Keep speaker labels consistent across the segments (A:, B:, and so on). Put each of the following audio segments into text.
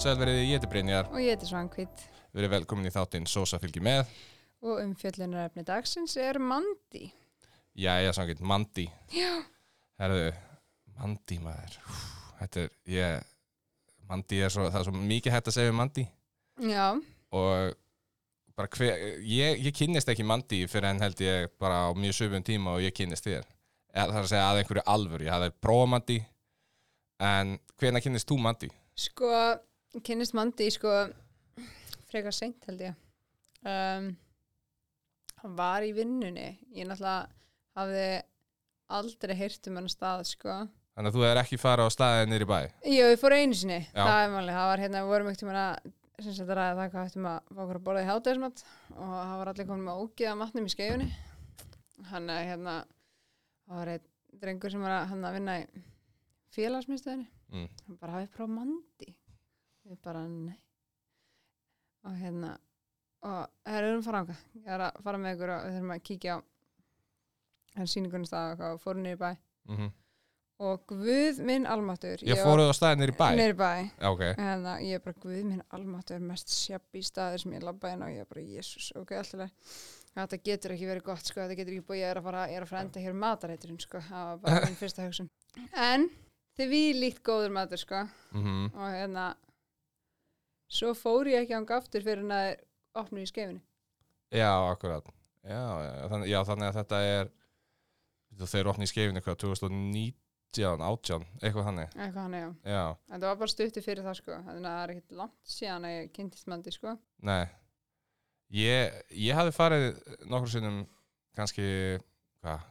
A: Sælveriði, ég heiti Brynjar.
B: Og ég heiti Svangvít
A: Verið velkomin í þáttinn Sosa fylgir með.
B: og umfjöllunarefni dagsins er Mandi.
A: Jæja, samkvæmt, Mandi. Já. Herðu, Mandi maður. Úff, Þetta er, ég, Mandi er svo, það er svo mikið hægt að segja um Mandi.
B: Já,
A: Og bara hver, ég, ég kynnist ekki Mandi fyrir en held ég bara á mjög sögum tíma og ég kynnist þér. Eða, það er að segja að einhverju alvöru, ég hafði prófa Mandi. En hvena kynnist þú Mandi?
B: sko, ég kynnist Mandi sko frekar seint held ég. Um, hann var í vinnunni. Ég náttúrulega hafði aldrei heyrt um hann stað sko.
A: Þannig að þú hefur ekki farið á staðið niður í bæ.
B: Jú, ég fór einu sinni.
A: Já.
B: Það er málið. Það var hérna, við vorum ekkert um að sem sagt að ræða það hvað hættum að fá okkur að borða í hátæðismat og það var allir komin með ógeða matnum í skeifunni hann er hérna það var einn drengur sem var að, hann að vinna í félagsmyndstöðinni
A: Mm.
B: hann bara hafið prófað mandi við bara nei og hérna og það erum fara ánga ég er að fara með ykkur og við þurfum að kíkja á hann sýningunni stað og eitthvað og fórum niður í bæ
A: Mm
B: og guð minn almatur
A: Ég fóruð á staðið niður í bæ.
B: niður í bæ
A: Já, ok.
B: en það, ég er bara guð minn almatur mest sjabbi staður sem ég labba inn og ég er bara jésus, ok, alltaf þetta getur ekki verið gott, sko, þetta getur ekki búið ég er að fara, ég er að fara að enda hér mataræturinn, sko það var bara minn fyrsta hugsun en þið við líkt góður matur, sko
A: Mm
B: og hérna svo fór ég ekki ánga aftur fyrir en að þeir opnu í skefinu
A: Já, akkurat já, já, þannig, já, þannig að þetta er Þú, þeir opna í skeifinu eitthvað 2019, 18 eitthvað þannig
B: eitthvað hann, já,
A: já,
B: en það var bara stuttu fyrir það, sko þannig að það er ekkit langt síðan að ég kynntist mandi, sko
A: nei ég, ég hafði farið nokkru sinnum kannski hvað,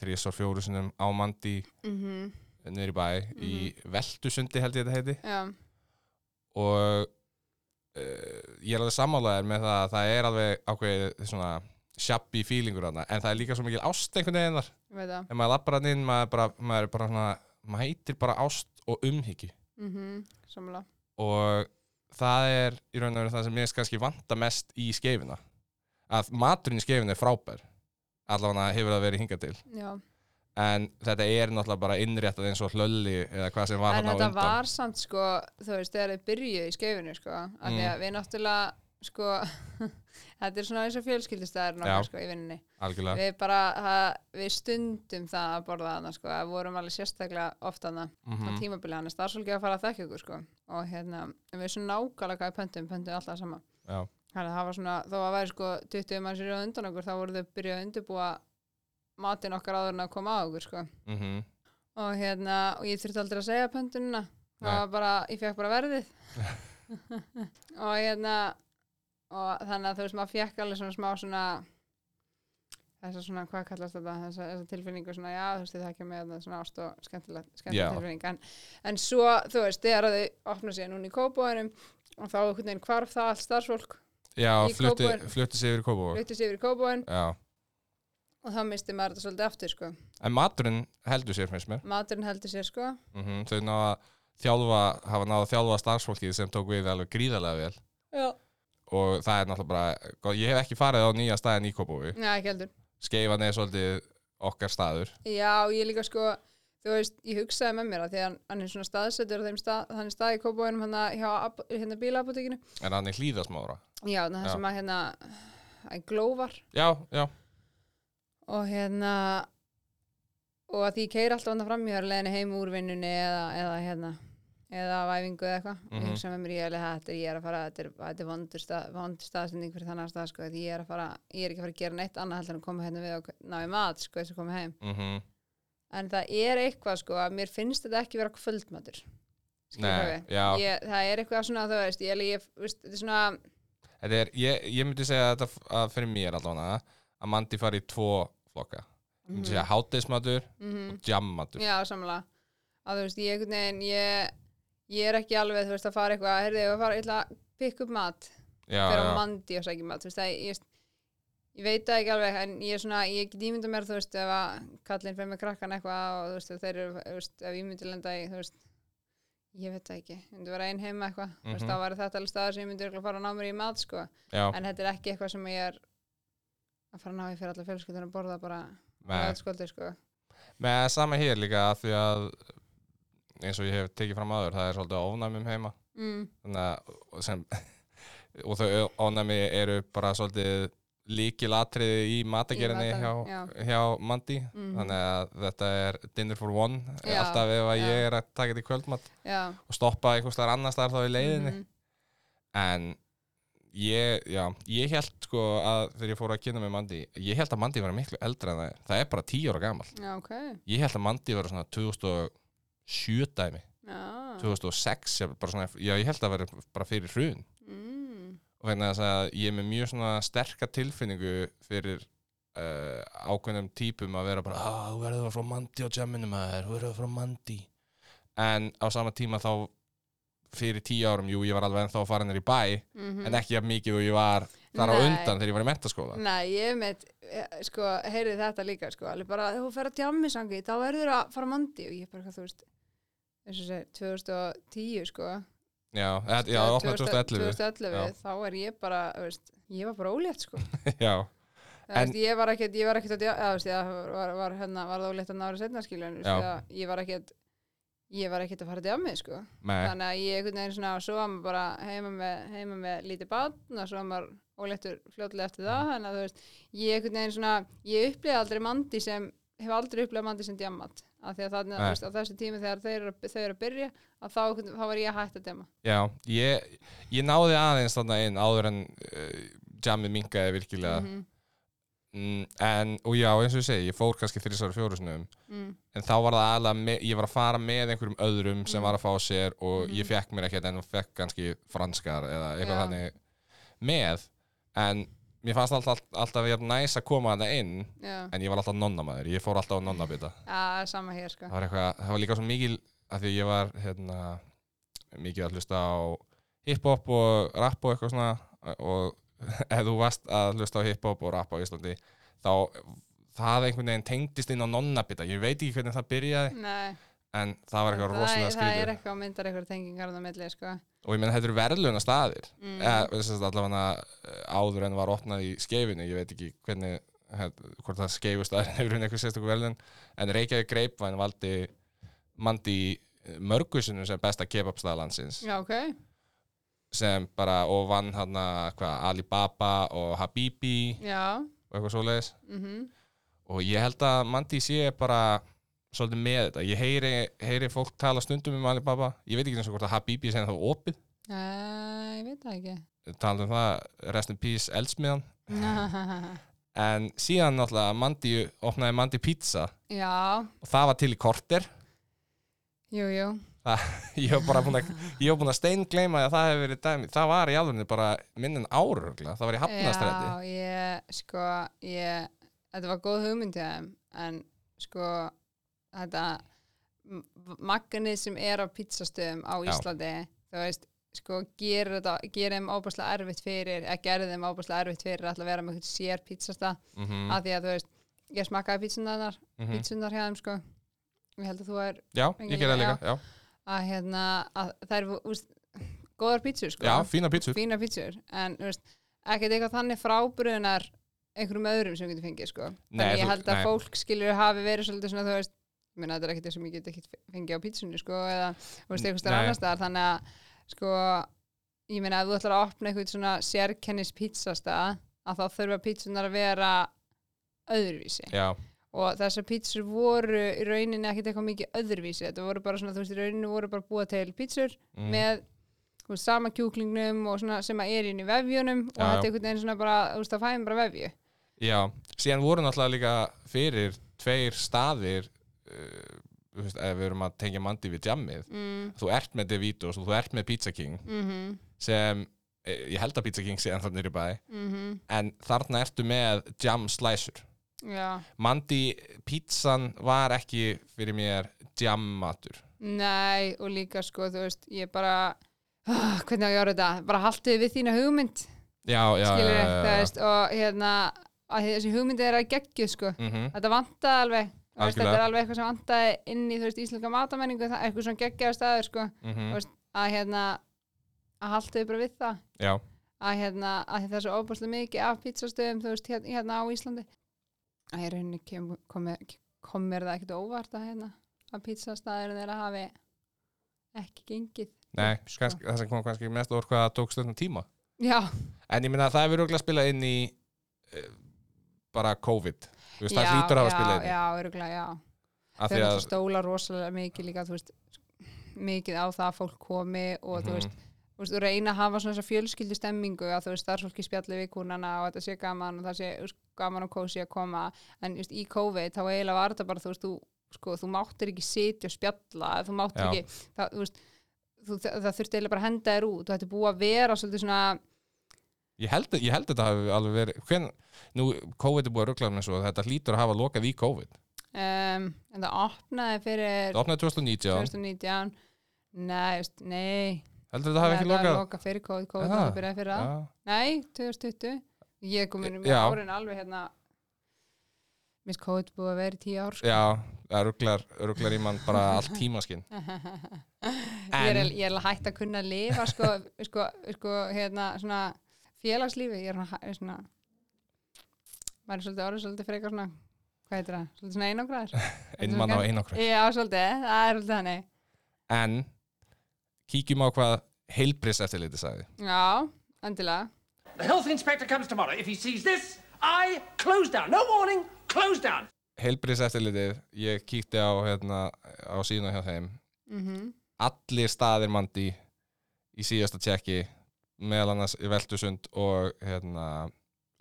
A: þrísor, fjóru sinnum á Mandi
B: mm -hmm.
A: niður í bæ í Veltusundi held ég þetta heiti
B: já,
A: og uh, ég er alveg sammálaðir með það að það er alveg ákveðið svona sjabbi fílingur hana en það er líka svo mikil ást einhvern veginn þar
B: ég veit það
A: ef maður lappar hann inn maður, bara, maður, er bara svona, maður heitir bara ást og umhyggju
B: mm samla,
A: og það er í raun og veru það sem mér kannski vanta mest í skeifina að maturinn í skeifinu er frábær allavega hefur það verið hingað til
B: já
A: en þetta er náttúrulega bara innréttað eins og hlölli eða hvað sem var
B: en
A: hann á
B: þetta
A: undan
B: var samt sko þú veist, þegar þið byrjuðu í skeifinu sko, af
A: Mm.
B: því að við náttúrulega sko, þetta er svona eins og
A: Já.
B: fjölskyldistæðar nokkar sko í vinninni
A: algjörlega
B: við bara, það, við stundum það að borða hana sko, að vorum alveg sérstaklega oft hana á
A: Mhm.
B: tímabili hann er starfsfólki að fara að þekka ykkur sko og hérna, en við svona nákvæmlega hvað við pöntum, pöntum alltaf sama
A: Já.
B: þannig að það var svona, þó að væri sko 20 manns í röð á undan okkur, þá voru þau byrjuð að undirbúa matinn okkar áður en að koma á okkur sko
A: Mhm.
B: og hérna, og ég þurfti aldrei að segja pöntunina það
A: Nei.
B: var bara, ég fekk bara verðið og hérna og þannig að þú veist, maður fekk alveg svona smá svona þess svona, hvað kallast þetta þess að tilfinningu svona, já, þú veist, það ekki með þetta hérna, svona ást og skemmtileg,
A: Já.
B: skemmtileg tilfinning en, en svo, þú veist, þegar þau opna sér núna í kópóinum og þá einhvern veginn hvarf það allt starfsfólk
A: já,
B: Í
A: flutti,
B: Kópavogi.
A: flutti sig yfir í Kópavog
B: flutti sér yfir í kópóin
A: já.
B: og þá misti maður þetta svolítið aftur, sko
A: en maturinn heldur sér finnst mér
B: maturinn heldur sér, sko
A: mm þau náða að þjálfa hafa náða að þjálfa starfsfólkið sem tók við alveg gríðarlega vel
B: já,
A: og það er náttúrulega bara, gott, ég hef ekki farið á nýja staðin í Kópói,
B: ekki heldur
A: skeifan er svolítið okkar staður
B: Já, ég líka sko, þú veist, ég hugsaði með mér að því að hann- hann er svona staðsettur á þeim stað, hann er stað í kópóinum hann að hjá ap- hérna bílapotekinu.
A: en hann er hlýðasmára
B: Já, það
A: Já.
B: sem að hérna, að glófar
A: já, já,
B: og hérna, og að því ég keir alltaf hann að framhjóra leðinu heim úr vinnunni eða, eða hérna, eða á æfingu eða eitthvað. Ég
A: Mhm.
B: hugsaði með mér, ég er alveg, þetta er, ég er að fara, þetta er, þetta er vondur, stað, vondur staðsending fyrir þannig að stað, sko, því ég er að fara, ég er ekki að fara að gera neitt annað heldur en að koma hérna við og ná í mat, sko, þess að koma heim.
A: mm
B: en það er eitthvað sko að mér finnst þetta ekki vera kvöldmatur Skilur hvað
A: Nei,
B: við?
A: já,
B: ég, það er eitthvað svona þú veist, ég, ég, veist þetta er svona
A: þetta er ég, ég myndi segja að þetta f- að fyrir mér allavega að mandi fari í tvo flokka ég
B: Mm.
A: myndi segja hátdeismatur
B: mhm,
A: og jammatur
B: já, samlega að þú veist, ég, einhvern veginn, ég, ég er ekki alveg, þú veist, að fara eitthvað heyrðu, ég var að fara, ég ætla að pikka upp mat
A: já,
B: fyrir á
A: já,
B: mandi og sækja mat þú veist, það, ég, ég veit það ekki alveg en ég er svona, ég get ímynda mér, þú veist ef að kallinn fer með krakkan eitthvað og þú veist, ef þeir eru, þú veist, ef ég myndi lenda í þú veist, ég veit það ekki myndi vera ein heima eitthvað, þú veist,
A: Mhm.
B: þá var þetta alveg staðar sem ég myndi örugglega fara að ná mér í mat, sko
A: já,
B: en þetta er ekki eitthvað sem ég er að fara að ná í fyrir alla fjölskyldunum að borða bara
A: með
B: skóldi, sko.
A: með sama hér líka af því að eins og ég hef tekið fram aður, það er svolítið ofnæmum um heima
B: mm,
A: þannig að og sem, og þau ónæmi eru bara svolítið líkilatriði í matagerinni
B: Í matar-
A: hjá, hjá Mandi
B: Mhm.
A: þannig að þetta er dinner for one
B: Já,
A: alltaf ef að
B: já.
A: ég er að taka þetta í kvöldmatt
B: já
A: og stoppa einhvers staðar annars staðar þá í leiðinni
B: mhm,
A: en ég, já, ég held sko að þegar ég fór að kynna með Mandi ég held að Mandi var miklu eldri en það er. það er bara 10 ára gamal
B: já, ok
A: ég held að Mandi var svona 2007 dæmi
B: já,
A: 2006, jafnvel, bara svona, já, ég held að vera bara fyrir hrun
B: mm,
A: og vegna þess að ég er með mjög svona sterka tilfinningu fyrir uh, ákveðnum típum að vera bara að þú verður frá mandi á jamminu maður þú verður frá mandi en á sama tíma þá fyrir tíu árum, jú, ég var alveg ennþá að fara nær í bæ
B: mhm.
A: en ekki að mikið og ég var þar á
B: Nei. Mm.
A: undan þegar ég var í mentaskóla
B: Nei, ég meitt, sko, heyrið þetta líka, sko, alveg bara, ef þú fer að tjámi sangi, þá verður að fara á mandi og ég bara, hvað þú veist, eins og segir, 2010, sko,
A: já, þetta- já, opnaði 2011 já.
B: 2011, þá er ég bara, þú veist, ég var bara ólétt, sko,
A: já,
B: það
A: En-
B: veist, ég var ekkert, ég var ekkert að djá, eða, þú veist, ég var, var, var hérna, var það ólétt að nára setna, skilur, en, þú
A: Já.
B: veist, það- sko, ég var ekkert, ég var ekkert að fara að tjámi, sko,
A: með,
B: þannig að ég einhvern veginn svona, svo var maður bara heima með, heima með lítið barn og svo var maður óléttur fljótlega eftir
A: Mm.
B: það þannig að þú veist, ég einhvern veginn svona ég upplýði aldrei mandi sem hef aldrei upplýðið mandi sem djamat af því að þannig að
A: Nei.
B: þú veist, á þessu tími þegar þeir eru, þau eru að byrja að þá, þá var ég að hætta að djama
A: já, ég ég náði aðeins þarna inn áður en uh, jammið minkaði virkilega
B: -hmm.
A: mm, en, og já, eins og ég segi, ég fór kannski þrísar fjóru snöðum
B: mm.
A: en þá var það aðlega, með, ég var að fara með einhverjum öðrum sem
B: Mm.
A: var að fá sér og
B: Mhm.
A: ég fekk mér ekkert en fekk kannski franskar eða eitthvað
B: Já.
A: þannig með en mér fannst alltaf, alltaf jafn næs að koma þarna inn
B: já,
A: en ég var alltaf nonnamaður, ég fór alltaf á nonnabita
B: að, sama hér sko
A: það var eitthvað, það var líka svo mikil af því að ég var hérna mikið að hlusta á hiphop og rap og eitthvað svona og ef þú varst að hlusta á hiphop og rap á Íslandi þá það einhvern veginn tengdist inn á nonnabita ég veit ekki hvernig það byrjaði
B: Nei,
A: en það var eitthvað rosalega
B: það, það
A: skrítið
B: er eitthvað og myndar eitthvað tengingar á milli sko
A: og ég menn þetta eru verðluna staðir
B: mm.
A: mm. allavega eh, áður en var opnað í skeifinu ég veit ekki hvernig hef, hvort það skeifustaðir hefur hún eitthvað sérstöku verðlun en Reykjavík Greipvæn valdi mandi mörgusinu sem besta kebabstað landsins
B: já, ok,
A: sem bara og vann hann hvað Alibaba og Habibi
B: já
A: og eitthvað svoleiðis
B: mm
A: og ég held að Mandi sé bara svolítið með þetta, ég heyri, heyri fólk tala stundum um Alibaba, ég veit ekki eins og hvort að Habibi sem það var opið
B: Æ, Eh, ég veit það ekki
A: tala um það rest in peace eldsmiðan
B: Já,
A: en síðan náttúrulega Mandi opnaði Mandi pizza og það var til í korter
B: jú, jú
A: ég hef bara búin að, ég hef búin að steingleima að það hefur verið dæmi, það var í alveg bara minn en árur, það var í hafnastræti
B: Já, ég, sko, ég þetta var góð hugmynd til þeim en sko, þetta m- magnið sem er á pizzastöðum á
A: Já.
B: Íslandi þú veist, sko, gerir þetta gerir þeim ábúrslega erfitt fyrir eða gerir þeim ábúrslega erfitt fyrir alltaf að vera með einhvern sér pizzastað,
A: mm
B: af því að þú veist ég smakkaði pizzunar,
A: -hmm.
B: pizzunar hjá þeim sko, ég held að þú er
A: já, ég gerði það líka já,
B: að hérna, að það er úst, góðar pizzur sko
A: já fína pítsur
B: fína pítsur en þú veist, ekkert eitthvað þannig frábriðunar einhverjum öðrum sem þú getur fengið sko. þannig
A: þú-
B: ég held að
A: nei.
B: fólk skilur hafi verið svolítið svona þú veist ég meina þetta er ekkert sem ég get ekki fengið á pítsunni sko, eða þú veist eitthvað
A: Nei.
B: starf annar staðar þannig að sko ég meina ef þú ætlar að opna eitthvað svona sérkennis pítsastað að þá þurfa pítsunar að vera öðruvísi
A: já,
B: og þessar pítsur voru í rauninni ekkert eitthvað mikið öðruvísi þetta voru bara svona þú veist í rauninni voru bara búa til pítsur
A: mm,
B: með þú veist, sama kjúklingnum og svona sem að er inn í vefjunum og
A: Já, já.
B: þetta er einhvern veginn svona bara, þú veist, það fæðum bara vefju
A: já, síðan voru náttúrulega líka fyrir tveir staðir uh, þú veist, ef við erum að tengja Mandi við jammið
B: mm.
A: þú ert með Devitos og þú ert með Pizza King
B: Mm -hmm.
A: sem eh, ég held að Pizza King sé ennþá nýri bæ
B: Mm
A: en þarna ertu með jam slicer
B: Já,
A: Mandi, pizzan var ekki fyrir mér jam matur
B: nei og líka sko, þú veist, ég bara ah, hvernig á ég að orða þetta, bara haltu við þína hugmynd,
A: já, já,
B: skilur
A: já,
B: ég,
A: já,
B: þú
A: já.
B: veist, og hérna að þessi hugmynd er að geggju, sko
A: Mhm,
B: þetta vantaði alveg, þú veist,
A: Algjörlega.
B: þetta er alveg eitthvað sem vantaði inn í, þú veist, íslenska matamenningu það er eitthvað svona geggjaði staður, sko
A: mhm,
B: veist- að hérna, að haltu við bara við það
A: já,
B: að hérna, að það er svo óbúslega mikið af pizzastöðum, þú veist, hérna, hérna á Íslandi að ég rauninni kem, kom, mér- kom mér það ekkert á óvart að hérna að pizzastæðurinn er að hafi ekki gengið
A: Nei,
B: upp,
A: kannski, það sem kom kannski mest orð hvað það tók stöðnum tíma
B: Já,
A: En ég meina að það hefur örugglega spilað inn í uh, bara COVID Þú veist, það
B: já,
A: hlýtur að hafa
B: já,
A: spilað inn í
B: Já, öruglega, já
A: Af
B: Þau
A: því
B: náttúrulega
A: að,
B: stóla rosalega mikið líka, þú veist mikið á það að fólk komi og þú
A: Mhm.
B: veist Þú veist, og reyna að hafa svona þessa fjölskyldu stemmingu að þú veist, starfsfólki spjalli við kúnana og þetta sé gaman og það sé þú veist, gaman og kósi að koma en þú veist, í COVID þá eiginlega var þetta bara þú veist, þú, sko, þú máttir ekki sitja og spjalla þú
A: Já.
B: máttir ekki, það, þú veist þú, það, það þurfti eiginlega bara að henda þér út þú ætti búið að vera svolítið svona
A: ég held, ég held að þetta hafi alveg verið hven, Nú, COVID er búið að ruggla með svo Þetta hlýtur að hafa lokað í COVID
B: um, en það opnaði fyrir
A: Það opnaði 2019,
B: 2019 nei, þú veist, nei
A: heldur þetta hafi
B: Nei,
A: ekki
B: það
A: lokað
B: loka fyrir COVID, COVID
A: Aha.
B: það byrjaði fyrir að
A: Já,
B: Nei, 2020 Ég kom inn með
A: Já.
B: árin alveg hérna Miss COVID búið að vera í tíu ár sko.
A: já það rugglar, rugglar í mann bara allt tímaskinn
B: Ég er
A: En-
B: ég er alveg hægt að kunna að lifa sko, sko, sko hérna svona félagslífi Ég er svona, hæ- svona maður er svolítið orðið svolítið frekar svona hvað heitir það, svolítið svona einangraður
A: Einmann á einangrun
B: Já, svolítið, það er svolítið þannig
A: En, kíkjum á hvað heilbris eftirliti sagði
B: Já, endilega
C: The health inspector comes tomorrow. If he sees this, I close down. No warning, close down.
A: heilbríðs eftirlitið, ég kíkti á hérna, á síðuna hjá þeim
B: Mhm.
A: allir staðir mandi í síðasta tjekki meðal annars í Veltusund og hérna,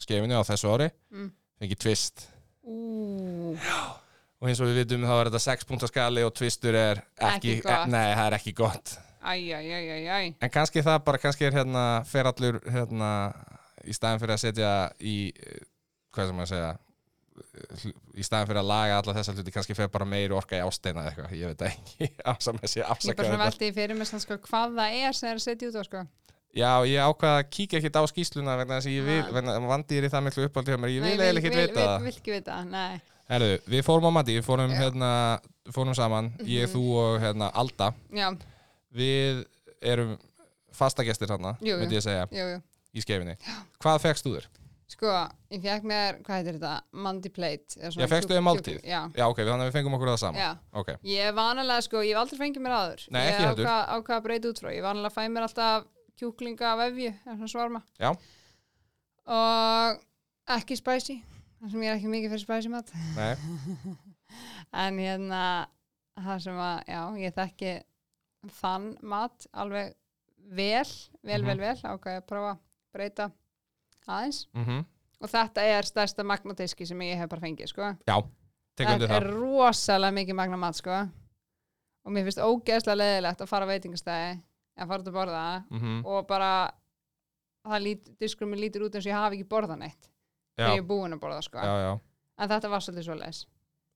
A: skefinu á þessu ári
B: Mm.
A: fengið tvist
B: Ú,
A: og eins og við vitum þá er þetta 6 punkta skali og tvistur er ekki,
B: Ekki gott.
A: nei, það er ekki gott
B: æj, æj, æj, æj, æj
A: en kannski það bara, kannski er hérna fer allur hérna í staðin fyrir að setja í eh, hvað sem maður segja eh, hl- í staðin fyrir að laga alla þessa hluti kannski fer bara meiri orka í ásteina eða eitthvað ég veit það ekki, afsaka sé
B: Ég er bara
A: afsaka
B: svona veldi fyrir mig svona, sko, hvað það er sem það er að setja út á sko.
A: já, ég ákvað að kíkja ekkit á skýsluna vegna þess að ég
B: Ha.
A: vil, vegna vandir í það miklu uppáldi hjá mér, ég
B: Nei,
A: vil eiginlega ekkit
B: vil-
A: vita
B: vil,
A: það
B: vil ekki vita, það, nei
A: herru, við fórum á mati, við fórum
B: Já. Mhm.
A: hérna fórum saman, ég, þú og hérna Alda,
B: Já,
A: við erum fastagestir hann,
B: Jú, jú.
A: myndi ég segja,
B: jú, jú
A: í skefinni hvað fegst þú þér?
B: Sko, ég fekk mér, hvað heitir þetta? Mandi plate eða svona
A: Já, fékkstu
B: kjúk-
A: þér máltíð?
B: kjúk- Já,
A: Já, ok, þannig að við fengum okkur það saman
B: já
A: Ok,
B: Ég er vanalega, sko, ég hef aldrei fengið mér aður
A: Nei,
B: Ég
A: ekki
B: á
A: heldur.
B: hvað, á hvað að breyta út frá Ég er vanalega fæ mér alltaf kjúklinga af vefju eða svona svarma
A: Já.
B: Og ekki spicy Það sem ég er ekki mikið fyrir spicy mat
A: nei,
B: En hérna, það sem að, já, ég þekki þann mat alveg vel, vel,
A: Mhm.
B: vel, vel, ákveði að prófa að breyta aðeins.
A: mhm,
B: Og þetta er stærsta magnatiski sem ég hef bara fengið, sko.
A: já Tekum við
B: Þetta er
A: það
B: rosalega mikið magnamat, sko. Og mér finnst ógeðslega leðilegt að fara á veitingastæði, að fara út að borða
A: Mhm,
B: og bara, það lít, diskur mér lítur út eins og ég hafi ekki borðað neitt
A: Já,
B: þegar ég er búin að borða, sko.
A: já, já
B: En þetta var svolítið svoleiðis.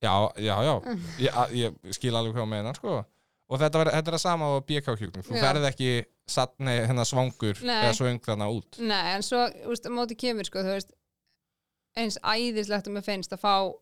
A: Já, já, já, ég, a- ég skil alveg hvað meina, sko Og þetta, var, þetta er að sama á BK kjúkling Þú
B: Já.
A: verð ekki satt, nei, hennar svangur
B: Nei.
A: eða svöng þarna út
B: Nei, en svo, þú veist, á móti kemur, sko, þú veist, eins æðislegt að mér finnst að fá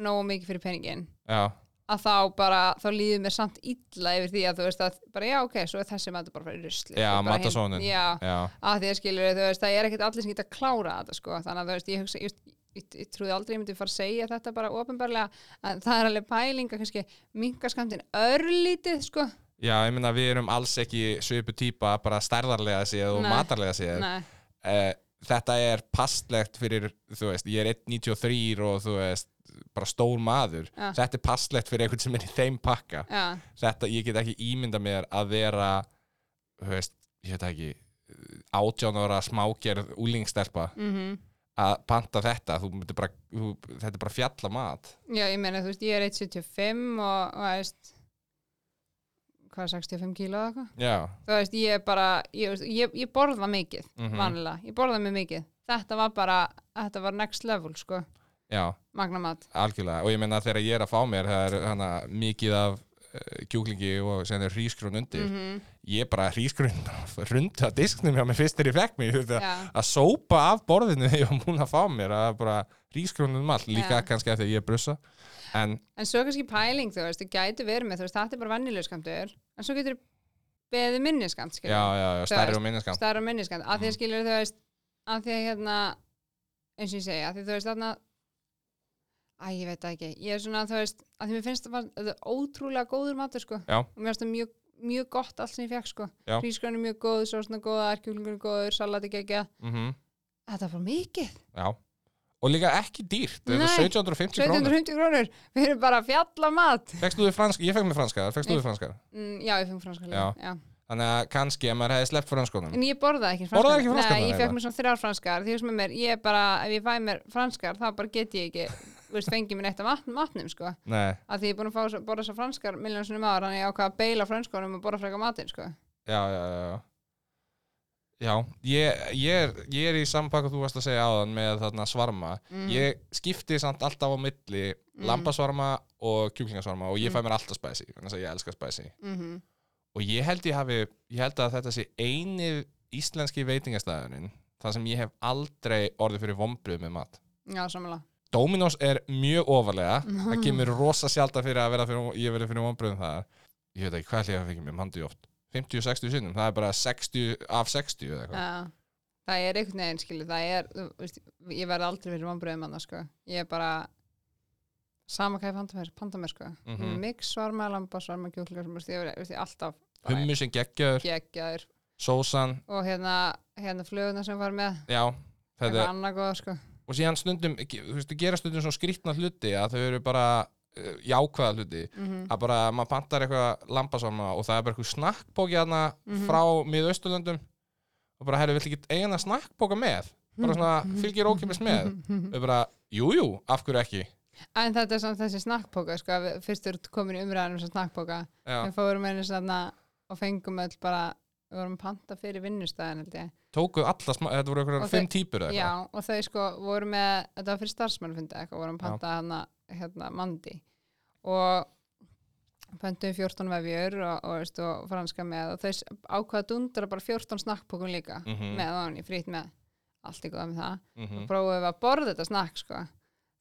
B: nógu mikið fyrir peningin,
A: Já,
B: að þá bara, þá líður mér samt illa yfir því að þú veist að, bara já, ok, svo er þessi matur bara fyrir rusli.
A: Já,
B: Bara hin-
A: matarsóunin.
B: Já,
A: já,
B: að því að skilur, þú veist, það er ekkert allir sem geta að klára þetta, sko, þannig að þú veist, ég hugsa, ég, ég, ég trúði aldrei ég myndi fara að segja þetta bara ofinbarlega, en það er alveg pælinga, kannski, minkaskamptin örlítið, sko,
A: já, ég meina við erum alls ekki svipu típa bara stærðarlega séð og
B: Nei.
A: matarlega séð
B: nei,
A: Eh, Þetta er pastlegt fyrir, þú veist, ég er 1.93 og þú veist, bara stór maður
B: Já.
A: Þetta er pastlegt fyrir einhvern sem er í þeim pakka
B: já,
A: þetta, ég get ekki ímynda mér að vera þú veist, ég veit það ekki 18 ára smágerð úlingstelpa
B: mhm.
A: að panta þetta, þú myndir bara þú, þetta er bara fjalla mat
B: Já, ég meina, þú veist, ég er 1,75 og, og veist, hvað er 65 kíló eða eitthvað?
A: já,
B: Þú veist, ég er bara, ég, veist, ég, ég borða mikið,
A: Mhm.
B: vanlega, ég borða mig mikið. Þetta var bara, þetta var next level, sko,
A: já,
B: magnamat.
A: algjörlega og ég meina þegar ég er að fá mér það er hana, mikið af eh, kjúklingi og sem er hrísgrun undir
B: Mhm.
A: ég bara hrísgrun runda disknum hjá mér fyrst þegar ég fekk mig þú veist, að-
B: Já.
A: að sópa af borðinu ég var múin að fá mér að bara hrísgrunum allt líka
B: Já.
A: kannski að því að ég er brussa en
B: En svo kannski pæling, þú veist, þú gæti verið með, þú veist, þetta er bara vennilega skamtur, en svo getur beðið minni skamt,
A: já,
B: skiljum.
A: já, já, Mhm.
B: Þú
A: stærri
B: veist,
A: og minniskam
B: stærra minniskant að því að skilur þú veist að því að hérna eins og ég segja, að því þú veist þarna æ, ég veit það ekki, ég er svona þú veist, að því mér finnst það var- þetta er ótrúlega góður matur sko
A: Já.
B: og mér finnst það mjög, mjög gott allt sem ég fekk sko
A: Já.
B: hrísgröðin er mjög góð, sósna góða, erkjúlingur er góður salati gegja,
A: mm
B: þetta er bara mikið
A: já og líka ekki dýrt, þetta
B: Nei,
A: er 1750 krónur
B: 750 krónur, við erum bara að fjalla mat
A: Fekstu þið franska, ég fekk mér franska, fekstu þið franska
B: mm, já, ég fengið franska
A: Já.
B: já.
A: Þannig að kannski að maður hefði sleppt franskunum
B: en ég borðaði ekki franskar
A: Borðaði ekki franskar,
B: Nei,
A: nei,
B: ég
A: nei.
B: fekk mér svona þrjár franskar því sem er mér, ég er bara, ef ég fæ mér franskar þá bara get ég ekki, þú veist, fengi mér neitt af mat, matnum sko
A: Nei,
B: að því ég er búin að fá, svo- borða þessar franskar milljónsunum ára, þannig ég ákvað að beila franskunum og borða frekar matinn sko
A: já, já, já já. Já, ég, ég, er, ég er í sampakku þú varst að segja áðan með þarna svarma
B: Mhm.
A: Ég skipti samt alltaf á milli lambasvarma og kjúklingasvarma og
B: Mhm.
A: ég fæ mér alltaf spæsi, þannig að ég elska spæsi
B: mm -hmm.
A: og ég held ég hafi ég held að þetta sé eini íslenski veitingastæðunin þar sem ég hef aldrei orðið fyrir vombrið með mat
B: já, samanlega
A: Dominos er mjög ofarlega það kemur rosa sjálta fyrir að vera fyrir, ég verið fyrir vombriðum það ég veit ekki hvað ætli ég hafi fengið mér mandi oft 50-60 sinnum, það er bara 60 af 60 eða eitthvað
B: Já, það er einhvern veginn skilur það er, þú veist, ég verð aldrei fyrir vombriðum annars sko, ég er bara sama hvað ég panta mér, panta mér sko mm
A: Mhm.
B: mix svarma, lamba, svarma, kjúklingar þú veist, ég verð- þú veist, ég er alltaf
A: hummu sem geggjaður,
B: geggjaður
A: sósan,
B: og hérna, hérna fluguna sem var með
A: já þetta,
B: eitthvað annað góða sko
A: og síðan stundum, þú veist, gera stundum svona skrýtna hluti að þau eru bara eh, jákvæða hluti, að bara maður pantar eitthvað lambasvarma og það er bara eitthvað snakkbóki hana
B: Mhm.
A: frá miðausturlöndum og bara, herru, vill ekki eigin að snakkbóka með bara
B: Mhm.
A: svona, fylgir ókipis með og bara, jújú, jú, af hverju ekki
B: en þetta er samt þessi snakkpóka sko, að við- fyrst eru komin í umræðanum sem snakkpóka
A: Já.
B: við fórum einu svona og fengum öll bara, við vorum að panta fyrir vinnustæðin held ég
A: tókuð alla, sma- þetta voru
B: Og
A: eitthvað
B: þau-
A: fimm típur eða eitthvað
B: Já, og þau sko voru með, þetta var fyrir starfsmannfundi eitthvað, vorum pantað hana, hérna, mandi og pöntum 14 vefjur og, og, veist, og franska með og þau s- ákvaða dundra bara 14 snakkpókum líka
A: Mhm.
B: með á henni, frýtt með allt í góða með það
A: Mhm.
B: og prófum við að borða þetta snakk sko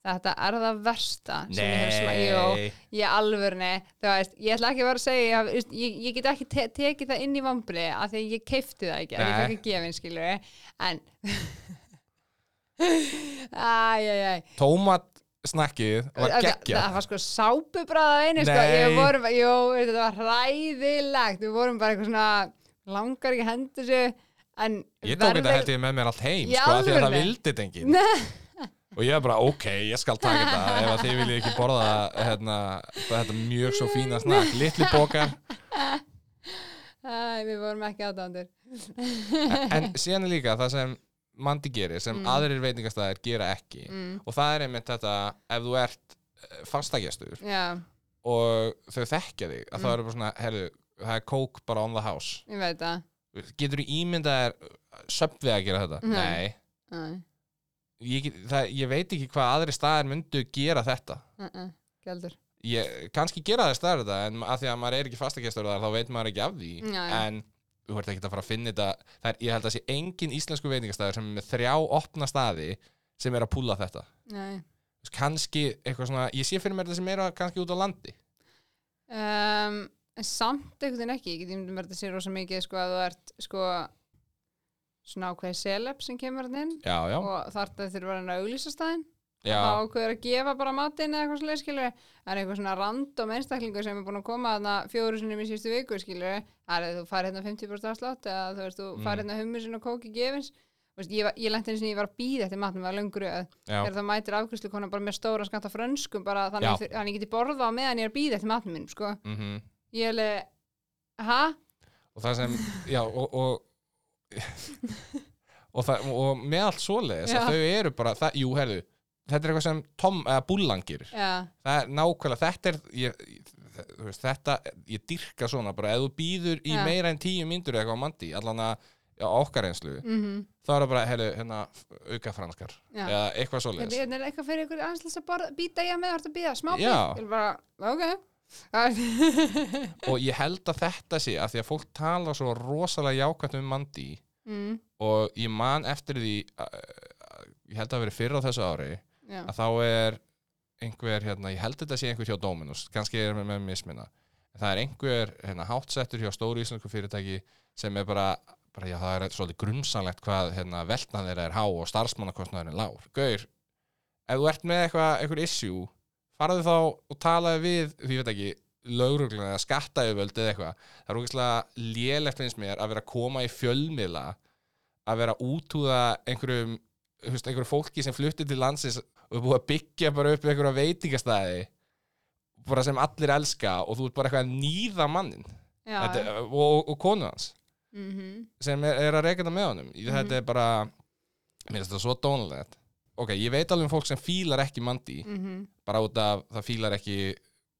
B: Þetta er það versta sem ég hef smakað.
A: Nei.
B: Jó, ég alvörni, þú veist, ég ætla ekki að vera að segja, ég, haf- veist, ég, ég get ekki te tekið það inn í vambri af því að ég keifti það ekki, af
A: Nei.
B: því ég fekk að gefa einn skilur, en, æjæjæj,
A: tómat snakkið var geggja
B: það var sko sápubræða einu, sko,
A: Nei.
B: ég vorum, bara- jú, þetta var hræðilegt, við vorum bara eitthvað svona langar ekki að henda þessu, en
A: ég tók þetta
B: verður-
A: held ég með mér allt heim
B: Í
A: sko, af því að það
B: alvöru?
A: vildi þetta enginn og ég er bara, ok, ég skal taka þetta ef að þið viljið ekki borða hérna, þetta mjög svo fína snakk litli bókar,
B: Æ, við vorum ekki aðdándur.
A: en síðan er líka það sem mandi gerir, sem aðrir veitingastæðir gera ekki, og það er einmitt þetta, ef þú ert eh, fastagestur
B: Já,
A: og þau þekkja þig, að það eru bara svona herðu, það er kók bara on the house
B: ég veit það.
A: getur þú ímyndað þér söpvið að gera þetta?
B: Nei.
A: Nei
B: Æ.
A: ég, get- það, ég veit ekki hvað aðri staðar myndu gera þetta
B: Uh-uh, gældur.
A: ég, kannski gera það staðar þetta en að því að maður er ekki fastagestur þar þá veit maður ekki af því
B: Já, já.
A: en þú ert ekki að fara að finna þetta það er, ég held að sé engin íslensku veitingastæður sem er með þrjá opna staði sem er að púla þetta
B: Nei.
A: Þú veist, kannski eitthvað svona, ég sé fyrir mér þetta sem er kannski út á landi
B: Um, en samt einhvern veginn ekki, ég get ímyndum verið að sé rosa mikið sko að þú ert sko svona ákveði celeb sem kemur hann inn
A: já, já,
B: og þar þetta þurfa hann að auglýsa staðinn
A: já,
B: þá ákveður að gefa bara matinn eða eitthvað svolítið skilur en eitthvað svona random einstaklingur sem er búin að koma þarna fjóru sinni í sístu viku skilur það er að þú farið hérna 50% afslátt eða þú veist þú
A: Mm.
B: farið hérna hummusinn og kóki gefins Þú veist, ég, var- ég lenti eins og ég var að býða eftir matnum var löngur öð
A: Já.
B: þegar það mætir afgjörslu konar bara með stóra skamt af frönskum bara þannig,
A: Já.
B: að ég þur- þannig ég geti borða á meðan ég er að býða eftir matnum minn sko.
A: mhm
B: ég er alveg, ha?
A: og það sem, já, og, og og, það, og með allt svoleiðis
B: Já.
A: að þau eru bara, það, jú, herðu þetta er eitthvað sem Tom, eða Búllangir
B: Ja.
A: það er nákvæmlega, þetta er ég, ég- þú veist, þetta, ég dyrka svona bara, ef þú býður í
B: Já.
A: meira en tíu myndur eitthvað á mandi, allan að á okkar einslu, þá er það bara heyrðu, hérna, auka franskar
B: Mhm. Já.
A: eða eitthvað
B: Yes.
A: svoleiðis
B: Er, er eitthvað fyrir ykkur aðeins að borða, býta ég með, þú ert að býða smá bít,
A: Já.
B: ég er bara, ok
A: og ég held að þetta sé að því að fólk tala svo rosalega jákvæmt um mandi
B: mm,
A: og ég man eftir því að, að, ég held að verið fyrr á þessu ári
B: já.
A: að þá er einhver, hérna, ég held þetta sé einhver hjá Dominus kannski er með, með misminna En það er einhver hérna, hátsettur hjá stóru íslensku fyrirtæki sem er bara, bara já, það er svolítið grunnsanlegt hvað hérna, veltna þeirra er há og starfsmannakostnaðurinn lágur Gaur, ef þú ert með eitthvað, eitthvað issue farðu þá og talaðu við, því ég veit ekki lögrugluna eða skattayfjöld eða eitthvað það er ógeðslega lélegt eins mér að vera að koma í fjölmiðla að vera að útúða einhverjum þú veist, einhverju fólki sem flutti til landsins og er búið að byggja bara upp einhverja veitingastæði bara sem allir elska og þú ert bara eitthvað að nýða mannin
B: já,
A: Þetta, og, og konu hans
B: mm
A: sem er, er að reyka þetta með honum Í- þetta er bara, mér finnst þetta svo dónulegt ok, ég veit alveg um fólk sem fílar ekki mandi,
B: Mm. Mhm.
A: bara út af það fílar ekki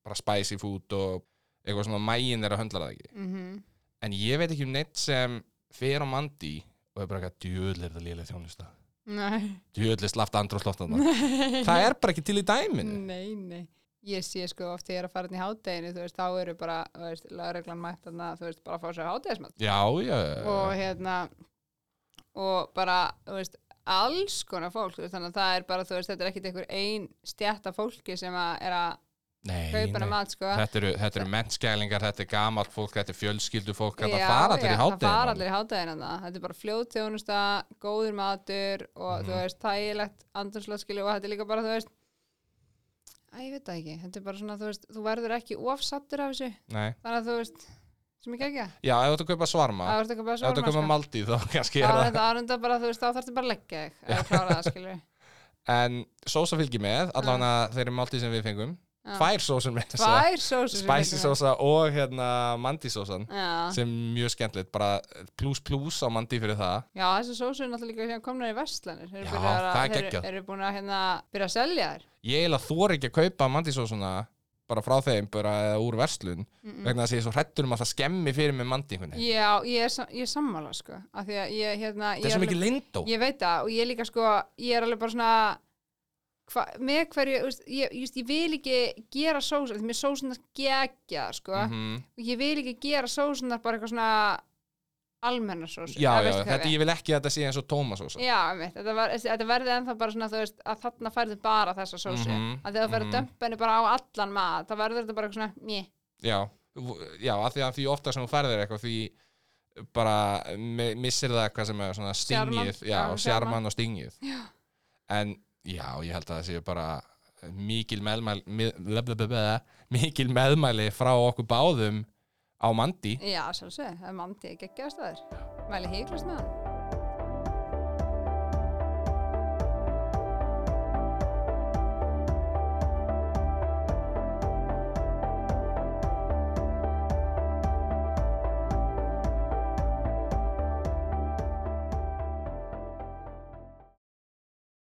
A: bara spicy food og eitthvað svona mægin er að höndla það ekki
B: Mhm.
A: en ég veit ekki um neitt sem fer á mandi og er bara eitthvað djöðlega er þetta lélega þjónusta
B: Nei,
A: djöðlega slaft andru og slótt það er bara ekki til í dæminu
B: nei, nei. Ég sé sko oft þegar ég er að fara inn í hádeginu, þú veist, þá eru bara, þú veist, lögreglan mætt þarna, þú veist, bara að fá sér hádegismat.
A: já, já,
B: Og hérna, og bara, þú veist, alls konar fólk, þú veist, þannig að það er bara, þú veist, þetta er ekkit einhver ein stjætta fólki sem að er að
A: nei,
B: kaupa hana
A: nei.
B: mat, sko.
A: Þetta eru, þetta eru mennskælingar, þetta er gamalt fólk, þetta er fjölskyldufólk, þetta
B: Já,
A: fara allir í
B: já,
A: hátæðin.
B: það fara allir í hátæðina það þetta er bara fljóð þjónusta, góður matur og þú
A: Mhm.
B: veist, þægilegt andurslátskilu og þetta er líka bara, þú veist að ég veit það ekki, þetta er bara svona þú veist, þú verður ekki ofsattur af þessu
A: Nei.
B: þannig að þú veist, sem ekki ekki
A: Já, ef þú ert að kaupa svarma
B: það verður eitthvað bara
A: Ef þú ert að kaupa
B: svona sko.
A: maldi þá kannski er
B: það
A: það
B: er enda bara, þú veist, þá þarfstu bara að leggja þig að klára það, skilur
A: En sósa fylgir með, allan að þeirri maldi sem við fengum
B: Já.
A: Tvær sósum með þessa
B: tvær sósur sem við
A: Spicy
B: fengum.
A: sósa og hérna mandi sósan
B: já,
A: Sem er mjög skemmtilegt, bara plus plus á mandi fyrir það
B: já þessi sósur er náttúrulega líka sem komnar í verslanir þeir
A: Já,
B: eru byrjaðar
A: það er
B: að-
A: geggjað.
B: þeir eru búin að hérna byrja að selja þér
A: Ég eiginlega þor ekki að kaupa mandi sósuna bara frá þeim, bara eða úr verslun
B: Mm.
A: vegna þess að ég er svo hrættur um að það skemmi fyrir mig mandi einhvern veginn.
B: Já, ég er, sam- ég er sammála sko af því að ég, hérna,
A: Þetta
B: ég,
A: er svo
B: alveg-
A: mikið lindó
B: ég veit það og ég er líka sko, ég er alveg bara svona hva, með hverju þú veist, ég, just, ég vil ekki gera sósur því mér sósunar geggja sko
A: Mhm.
B: og ég vil ekki gera sósunar bara eitthvað svona almennar sósur
A: Mhm. Já, já, þetta ég vil ekki að þetta sé eins og tómasósa
B: Já, einmitt, þetta, var, þetta verði ennþá bara svona þú veist, að þarna færðu bara þessa sósu
A: Mhm,
B: að þegar þú færðu
A: mhm.
B: mm -hmm. dömpenni bara á allan mat þá verður þetta bara eitthvað svona, mjö
A: Já, já, af því að því ofta sem þú færðir eitthvað því bara mi- missir það hvað sem er svona
B: Sjarmann.
A: stingið, já,
B: Já, sjarmann.
A: sjarman og stingið já. en já, ég held að það séu bara mikil meðmæli mið- blablabla, mikil meðmæli frá okkur báðum á mandi
B: Já, sjálfsög, það er mandi geggjast aður mæli híklast með hann